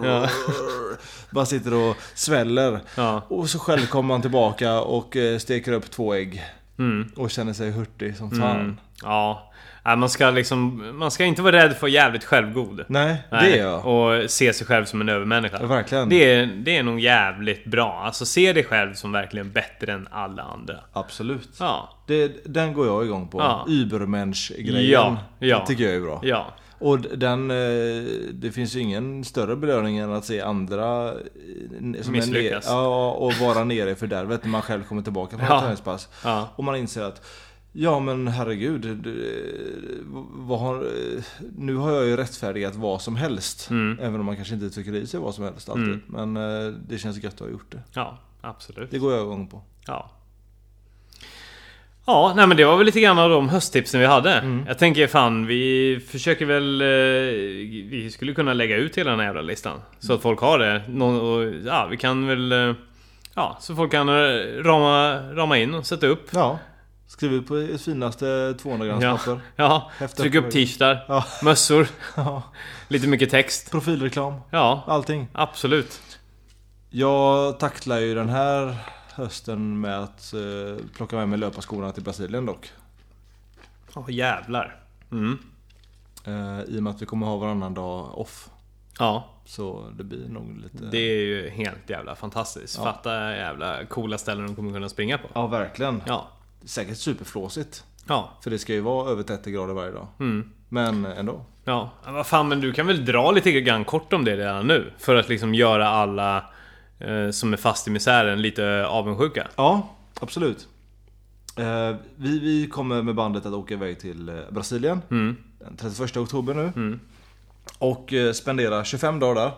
bara sitter och sväller.
Ja.
Och så själv kommer man tillbaka och eh, steker upp två ägg.
Mm.
Och känner sig hurtig som fan.
Ja. Nej, man ska liksom, man ska inte vara rädd för att vara jävligt självgod.
Nej,
Nej,
det är jag.
Och se sig själv som en övermänniska.
Ja, verkligen.
Det är, det är nog jävligt bra. Alltså se dig själv som verkligen bättre än alla andra.
Absolut.
Ja.
Det, den går jag igång på.
Ja.
Übermensch-grejen.
Ja, ja.
Det tycker jag är bra.
Ja.
Och den, eh, det finns ju ingen större belöning än att se andra eh, som är
Misslyckas.
ner- ja, och vara nere i fördärvet när man själv kommer tillbaka från
Ja.
ett träningspass.
Ja.
Och man inser att Ja men herregud, det- vad har, eh, nu har jag ju rättfärdigat vad som helst.
Mm.
Även om man kanske inte tycker i sig vad som helst alltid. Men eh, det känns gött att ha gjort det.
Ja, absolut.
Det går jag igång på.
Ja. Ja, nej men det var väl lite grann av de hösttipsen vi hade. Jag tänker fan, vi försöker väl... eh, Vi skulle kunna lägga ut hela den här jävla listan. Så att folk har det. Någon, och, ja, vi kan väl... eh, Ja, så folk kan eh, rama, rama in och sätta upp.
Ja, skriv ut på ert finaste 200 grams
Ja,
papper.
ja.
Häfta
tryck
på
upp
väggen.
t-shirtar,
Ja.
mössor,
Ja.
lite mycket text.
Profilreklam,
Ja,
allting.
Absolut.
Jag tacklar ju den här hösten med att eh, plocka med mig löparskorna till Brasilien dock.
Ja jävlar. Mm.
Eh, I och med att vi kommer ha varannan dag off.
Ja,
Så det blir nog lite...
det är ju helt jävla fantastiskt.
Ja.
Fatta jävla coola ställen de kommer kunna springa på.
Ja, verkligen.
Ja.
Säkert superflåsigt.
Ja.
För det ska ju vara över 30 grader varje dag.
Mm.
Men ändå.
Ja. Men Vad fan, men du kan väl dra lite grann kort om det redan nu? För att liksom göra alla eh, som är fast i misären lite avundsjuka.
Ja, absolut. Eh, vi, vi kommer med bandet att åka iväg till eh, Brasilien
Mm.
den 31 oktober nu. Och eh, spendera 25 dagar där.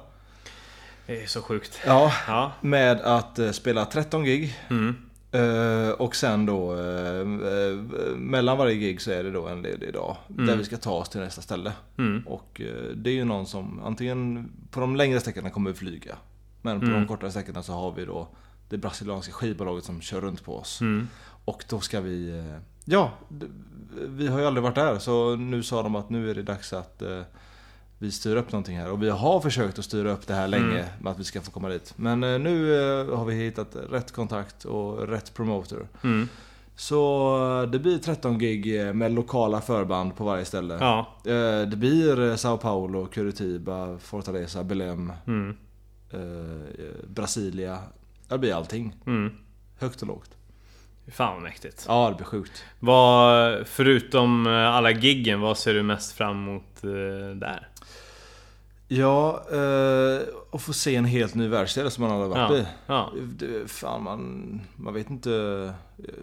Det är så sjukt.
Ja,
Ja.
med att eh, spela 13 gig.
Mm.
Eh, och sen då eh, eh, mellan varje gig så är det då en ledig dag där vi ska ta oss till nästa ställe.
Mm.
Och eh, det är ju någon som antingen på de längre sträckorna kommer vi flyga. Men på
Mm.
de kortare sträckorna så har vi då det brasilianska skivbolaget som kör runt på oss.
Mm.
Och då ska vi... eh, Ja, d- vi har ju aldrig varit där så nu sa de att nu är det dags att eh, vi styr upp någonting här. Och vi har försökt att styra upp det här länge
Mm.
med att vi ska få komma dit. Men eh, nu eh, har vi hittat rätt kontakt och rätt promoter.
Mm.
Så eh, det blir 13 gig eh, med lokala förband på varje ställe.
Ja.
Eh, Det blir eh, Sao Paulo, Curitiba, Fortaleza, Belém,
Mm.
eh, eh, Brasilia. Det blir allting.
Mm.
Högt och lågt.
Fan vad mäktigt.
Ja, det blir sjukt.
Vad, förutom eh, alla giggen, vad ser du mest fram emot eh, där?
Ja, eh, och få se en helt ny världsdel som man aldrig varit
Ja,
i.
ja.
Det, fan, man, man vet inte... eh,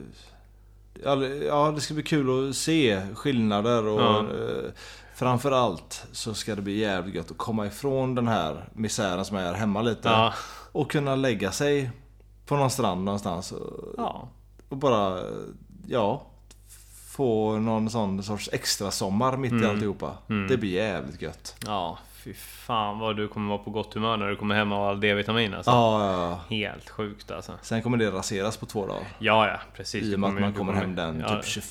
ja, det- Ja, det ska bli kul att se skillnader och...
Ja.
eh, Framförallt så ska det bli jävligt gött att komma ifrån den här misären som är hemma lite.
Ja,
Och kunna lägga sig på någon strand någonstans och-
ja.
och bara, ja, få någon sån sorts extra sommar mitt
Mm.
i alltihopa. Det blir jävligt gött.
ja fy fan vad du kommer vara på gott humör när du kommer hem av all D-vitamin alltså.
Ja, ja, ja.
Helt sjukt alltså.
Sen kommer det raseras på två dagar.
Ja, ja, precis.
I
Du
och med att
ju-
man
du
kommer hem den
ja,
typ 26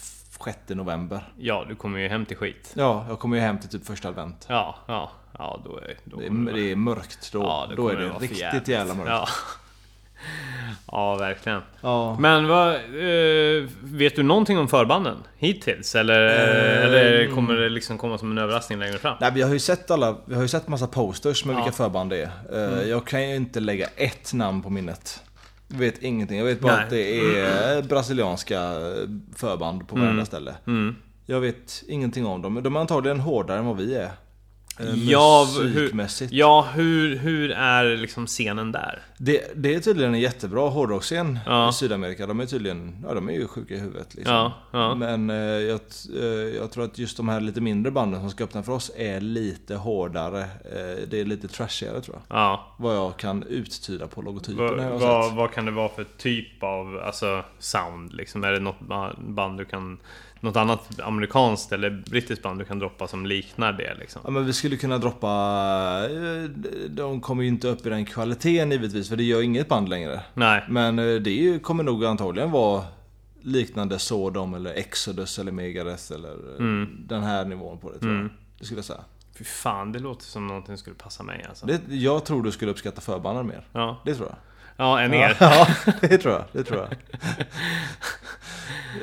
november.
Ja, du kommer ju hem till skit.
Ja, jag kommer ju hem till typ första advent.
Ja, ja, ja, då är då
Det
kommer
är, det är mörkt då.
ja,
då är
kommer
det
vara för
riktigt
jävligt.
jävla mörkt. Ja.
Ja. ja, verkligen.
Ja.
Men vad, eh, vet du någonting om förbanden hittills? Eller,
Eh,
eller
mm.
kommer det liksom komma som en överraskning längre fram?
Nej, vi har ju sett alla, vi har ju sett massa posters med vilka förband det är. Eh,
Mm.
Jag kan ju inte lägga ett namn på minnet. Jag vet ingenting. Jag vet bara
Nej.
att det är brasilianska eh, förband på varenda
Mm.
ställe. Jag vet ingenting om dem. De är antagligen hårdare än vad vi är. Eh,
Ja, v- hur,
musikmässigt.
ja hur, hur är liksom scenen där?
Det, det är tydligen en jättebra hårdrocksscen
Ja.
i Sydamerika. De är tydligen ja, de är ju sjuka i huvudet. Liksom.
Ja, ja.
Men eh, jag, t- eh, jag tror att just de här lite mindre banden som ska öppna för oss är lite hårdare. Eh, det är lite trashigare tror jag.
Ja,
Vad jag kan uttyda på logotypen
vad,
jag har
vad,
sett.
vad kan det vara för typ av alltså, sound? Liksom? Är det något ba- band du kan... Något annat amerikanskt eller brittiskt band du kan droppa som liknar det liksom?
Ja, men vi skulle kunna droppa... eh, De kommer ju inte upp i den kvaliteten givetvis för det gör inget band längre.
Nej.
Men eh, det är ju- kommer nog antagligen vara liknande Sodom eller Exodus eller Megadeth eller eh,
Mm.
den här nivån på det tror jag. Det skulle jag säga.
Fy fan, det låter som någonting som skulle passa mig alltså.
Det, jag tror du skulle uppskatta förbanden mer.
Ja,
Det tror jag.
ja en er.
Ja, det tror jag. Det tror jag.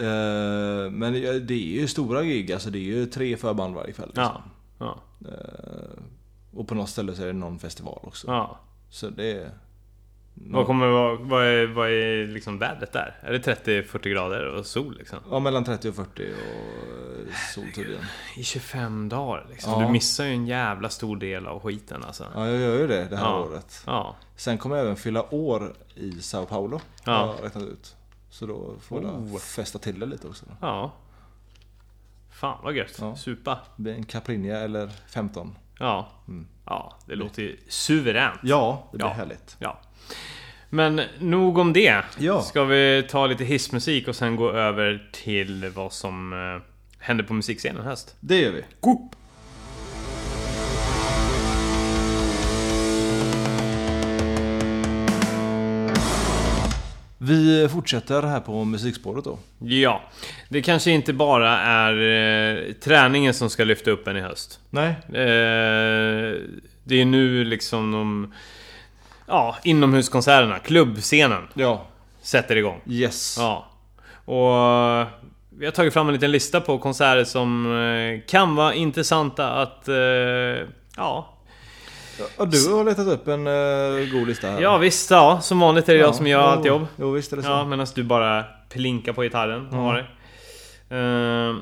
Eh, Men det är ju stora gig, alltså det är ju tre förband varje kväll. liksom. Eh,
Ja, ja,
Och på något ställe så är det någon festival också.
ja.
Så det är...
Vad, kommer, vara- vad, är, vad är liksom vädret där? Är det 30-40 grader och sol liksom?
Ja, mellan 30 och 40 och eh, sol tydligen.
I 25 dagar liksom.
Ja.
Du missar ju en jävla stor del av skiten alltså.
Ja, jag gör ju det det här
Ja.
året.
Ja.
Sen kommer jag även fylla år i Sao Paulo.
Ja.
Har jag räknat ut. Så då får
Oh.
jag festa till det lite också.
Ja. Fan vad gött.
Ja.
Supa.
Det blir En Caprinia eller 15.
Ja. Ja, det låter ju suveränt.
Ja, det blir
Ja.
härligt.
Ja. Men nog om det.
Ja.
Ska vi ta lite hissmusik och sen gå över till vad som eh, händer på musikscenen i höst?
Det gör vi. Vi fortsätter här på musikspåret då.
Ja. Det kanske inte bara är eh, träningen som ska lyfta upp en i höst.
Nej.
Eh, det är nu liksom de... Ja, inomhuskonserterna, klubbscenen,
Ja.
sätter igång.
Yes.
Ja. Och Vi har tagit fram en liten lista på konserter som eh, kan vara intressanta att... eh, Ja,
Ja, du har letat upp en eh, god lista här.
ja visst, ja, som vanligt är det jag som gör
jo,
allt jobb.
Jo, visst är det så.
Ja, medan du bara plinkar på gitarren. och Har det. Eh,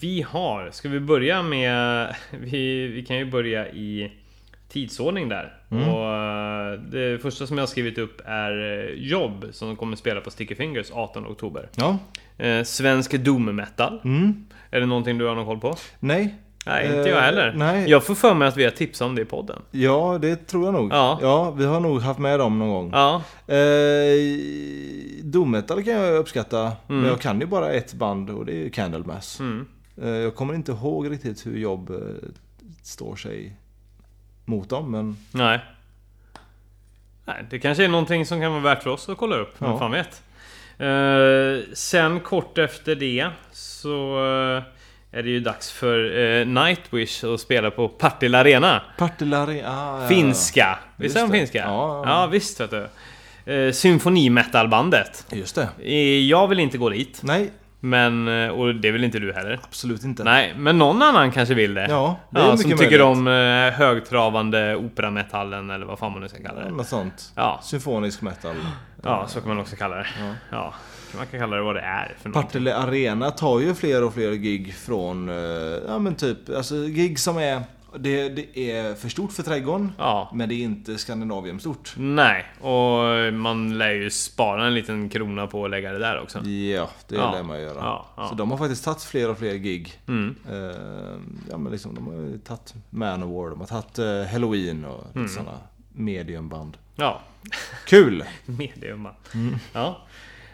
vi har, ska vi börja med... Vi, vi kan ju börja i tidsordning där.
Mm.
Och eh, det första som jag har skrivit upp är eh, Jobb som kommer spela på Sticky Fingers 18 oktober.
Ja.
Eh, svensk doom metal.
Mm.
Är det någonting du har någon koll på?
Nej.
Nej,
Eh,
inte jag heller.
nej.
Jag får för mig att vi har tipsat om det i podden.
Ja, det tror jag nog.
Ja.
ja, vi har nog haft med dem någon gång.
Ja,
Eh, Dometal kan jag uppskatta, men
Mm.
jag kan ju bara ett band och det är Candlemass. Eh, jag kommer inte ihåg riktigt hur jobb eh, står sig mot dem, men
nej. Nej, det kanske är någonting som kan vara värt för oss att kolla upp. Vem
Ja.
fan vet? Eh, sen kort efter det så eh, är det ju dags för eh, Nightwish att spela på Partille Arena.
Partillari... Ah, ja.
Finska! Visst är de
Just det.
finska?
Ja, ja.
ja visst vet du. Uh, Symfonimetalbandet.
Just det.
Eh, Jag vill inte gå dit,
Nej,
men, eh, och det vill inte du heller.
absolut inte.
Nej, men någon annan kanske vill det.
Ja, det är mycket
Som tycker
möjligt.
om eh, högtravande operametallen eller vad fan man nu ska kalla det.
Något sånt.
Ja.
Symfonisk metal.
Ja, så kan man också kalla det. Ja. Man kan kalla det vad det är för något.
Partille Arena tar ju fler och fler gig från, eh, ja men typ, alltså gig som är, det, det är för stort för trädgården.
Ja.
Men det är inte Skandinavien stort.
Nej, och man lär ju spara en liten krona på att lägga det där också.
Ja, det
Ja.
lär man göra.
Ja, ja. Mm.
Så de har faktiskt tagit fler och fler gig. Eh, ja, men liksom, de har ju tagit Manowar, de har tagit eh, Halloween och lite
Mm.
sådana mediumband.
Ja,
Kul!
medium
Mm.
Ja.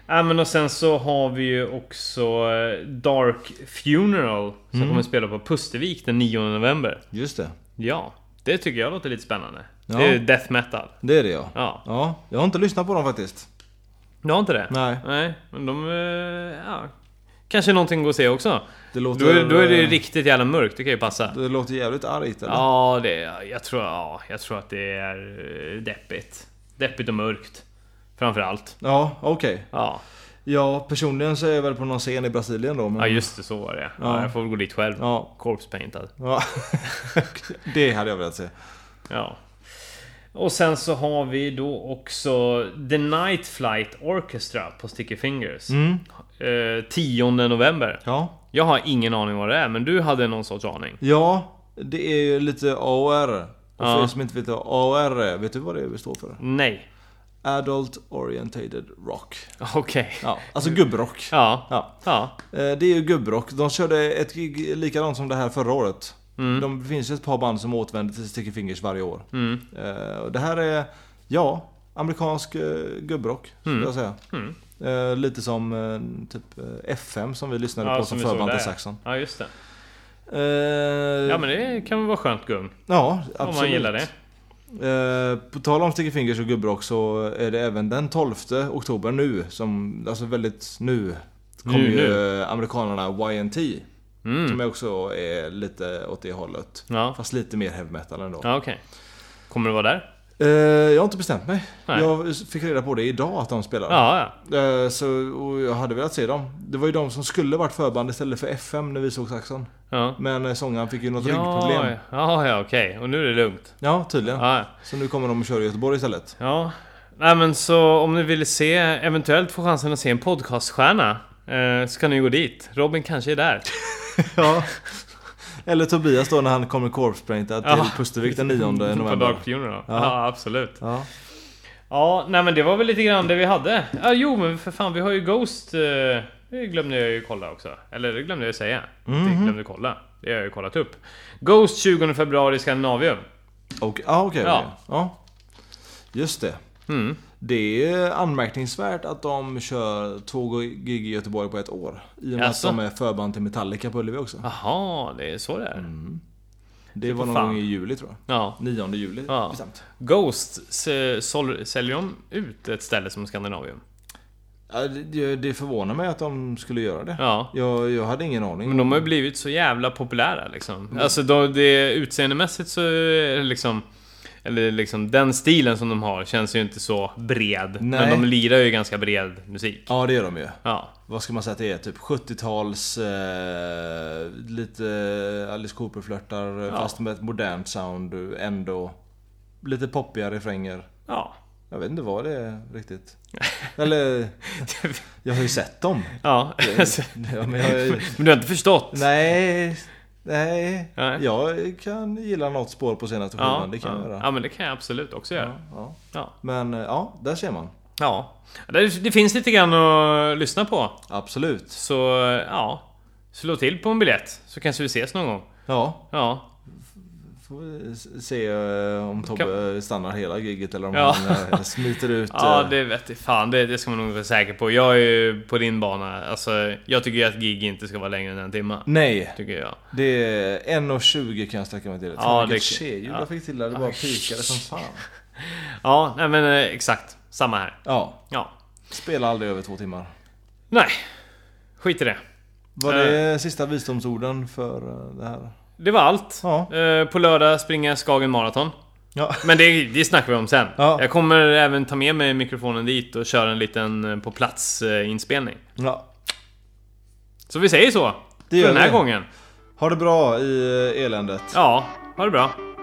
Ja, men och sen så har vi ju också eh, Dark Funeral som
Mm.
kommer spela på Pustervik den 9 november.
Just det,
Ja, det tycker jag låter lite spännande.
Ja.
Det är ju death metal.
det är det ja.
Ja.
ja. Jag har inte lyssnat på dem faktiskt.
Du har inte det?
Nej.
Nej, men de... eh, Ja. Kanske någonting går att se också.
Det låter,
Då är, då är det ju
eh,
riktigt jävla mörkt, det kan ju passa.
Det låter jävligt argt eller?
Ja, det, jag, tror, ja, jag tror att det är eh, deppigt. Deppigt och mörkt. Framförallt.
Ja, okej.
Ja.
Ja, personligen så är jag väl på någon scen i Brasilien då. Men...
ja, just det. Så var det. Ja,
Ja.
jag får väl gå dit själv.
Ja.
Corpse-paintad.
Ja. det hade jag velat se.
Ja. Och sen så har vi då också The Night Flight Orchestra på Sticky Fingers. Eh, 10 november.
Ja.
Jag har ingen aning vad det är, men du hade någon sorts aning.
Ja, det är ju lite AOR. Och för
Ja.
er som inte vet vad AOR är, vet du vad det står för?
Nej.
Adult Orientated Rock.
Okej.
Ja, alltså gubbrock.
Ja. ja.
Ja. Eh, Det är ju gubbrock. De körde ett gig likadant som det här förra året.
Mm.
De, det finns ju ett par band som återvänder till Sticky Fingers varje år. Eh, och Det här är, ja, amerikansk eh, gubbrock skulle
Mm.
jag säga. Eh, Lite som eh, typ eh, F5 som vi lyssnade på som,
vi såg
förband
där,
till
ja.
Saxon.
Ja, just det.
Eh,
Ja, men det kan väl vara skönt gung.
ja, absolut.
Om man gillar det.
Eh, på tal om Sticky Fingers och gubbrock så är det även den 12 oktober nu, som, alltså väldigt nu, kommer
Nu,
ju
nu.
eh, amerikanerna YNT.
Mm.
Som också är lite åt det hållet.
Ja,
Fast lite mer heavy metal ändå.
ja okej. Kommer du vara där?
Eh, jag har inte bestämt mig.
Nej.
Jag fick reda på det idag att de spelar.
Ja, ja.
Eh, så, och jag hade velat se dem. Det var ju de som skulle varit förband istället för FM när vi såg Saxon.
Ja,
Men eh, sångaren fick ju något
ja,
ryggproblem.
ja, ja okej. Och nu är det lugnt.
Ja, tydligen.
Ja, ja.
Så nu kommer de och kör i Göteborg istället.
Ja. Nej men så om ni vill se, eventuellt få chansen att se en podcaststjärna eh, så kan ni gå dit. Robin kanske är där.
Ja. Eller Tobias då när han kommer korpsprainta till
Ja.
Pustervik den 9
På
november.
Dark Funeral. Ja.
Ja.
ja, absolut.
Ja.
Ja, nej men det var väl lite grann det vi hade. Ja, jo men för fan vi har ju Ghost. Eh, det glömde jag ju kolla också. Eller det glömde jag säga. Det glömde kolla. Det har jag ju kollat upp. Ghost 20 februari i Skandinavium.
Och, ah, okej,
Ja.
okej. ja. Just det.
Mm.
Det är anmärkningsvärt att de kör två gig i Göteborg på ett år. I och med
Jaså?
att de är förband till Metallica på Ullevi också.
Jaha, det är så det är.
Det var någon
fan.
gång i juli tror jag.
Ja.
9 juli
Ja.
bestämt.
Ghost, se- sol- säljer de ut ett ställe som Skandinavium?
Ja, det, det förvånar mig att de skulle göra det.
Ja.
Jag, jag hade ingen aning.
Men de har ju blivit så jävla populära liksom. Alltså de, det utseendemässigt så är det liksom Eller liksom den stilen som de har känns ju inte så bred. Men
Nej.
de lirar ju ganska bred musik.
Ja, det gör de ju.
Ja.
Vad ska man säga att det är? Typ 70-tals... Eh, lite Alice Cooper-flörtar
Ja.
fast med ett modernt sound ändå. Lite poppiga refränger.
Ja.
Jag vet inte vad det är riktigt. Eller... Jag har ju sett dem.
Ja. alltså,
Ja, men jag,
Men du har inte förstått?
nej... Nej.
Nej.
Jag kan gilla något spår på senaste skivan,
Ja,
det kan
ja.
jag göra.
ja, men det kan jag absolut också göra.
Ja.
Ja.
Men eh, ja, där ser man.
Ja. Det, det finns lite grann att lyssna på.
Absolut.
Så ja, slå till på en biljett så kanske vi ses någon gång.
Ja,
Ja,
får vi s- se eh, om Tobbe stannar hela giget eller om
Ja.
han eh, smiter ut.
ja
eh,
det vet jag fan, det, det ska man nog vara säker på. Jag är ju på din bana. Alltså, jag tycker ju att gig inte ska vara längre än en timme.
Nej,
Tycker jag.
det är 1.20 kan jag sträcka mig till.
Ja,
Ja, det
det-
tjejljud
ja.
jag fick till där, det bara pikade som fan.
Ja, nej men eh, exakt. Samma här.
Ja,
Ja.
spela aldrig över två timmar.
Nej, skit i det.
Var det sista visdomsorden för eh, det här?
Det var allt.
Ja.
Eh, På lördag springer jag Skagen Marathon.
Ja.
Men det, det snackar vi om sen.
Ja.
Jag kommer även ta med mig mikrofonen dit och köra en liten eh, på plats eh, inspelning.
ja.
Så vi säger så.
Det
för
gör
den här
vi.
gången.
Ha det bra i eh, eländet.
Ja, ha det bra.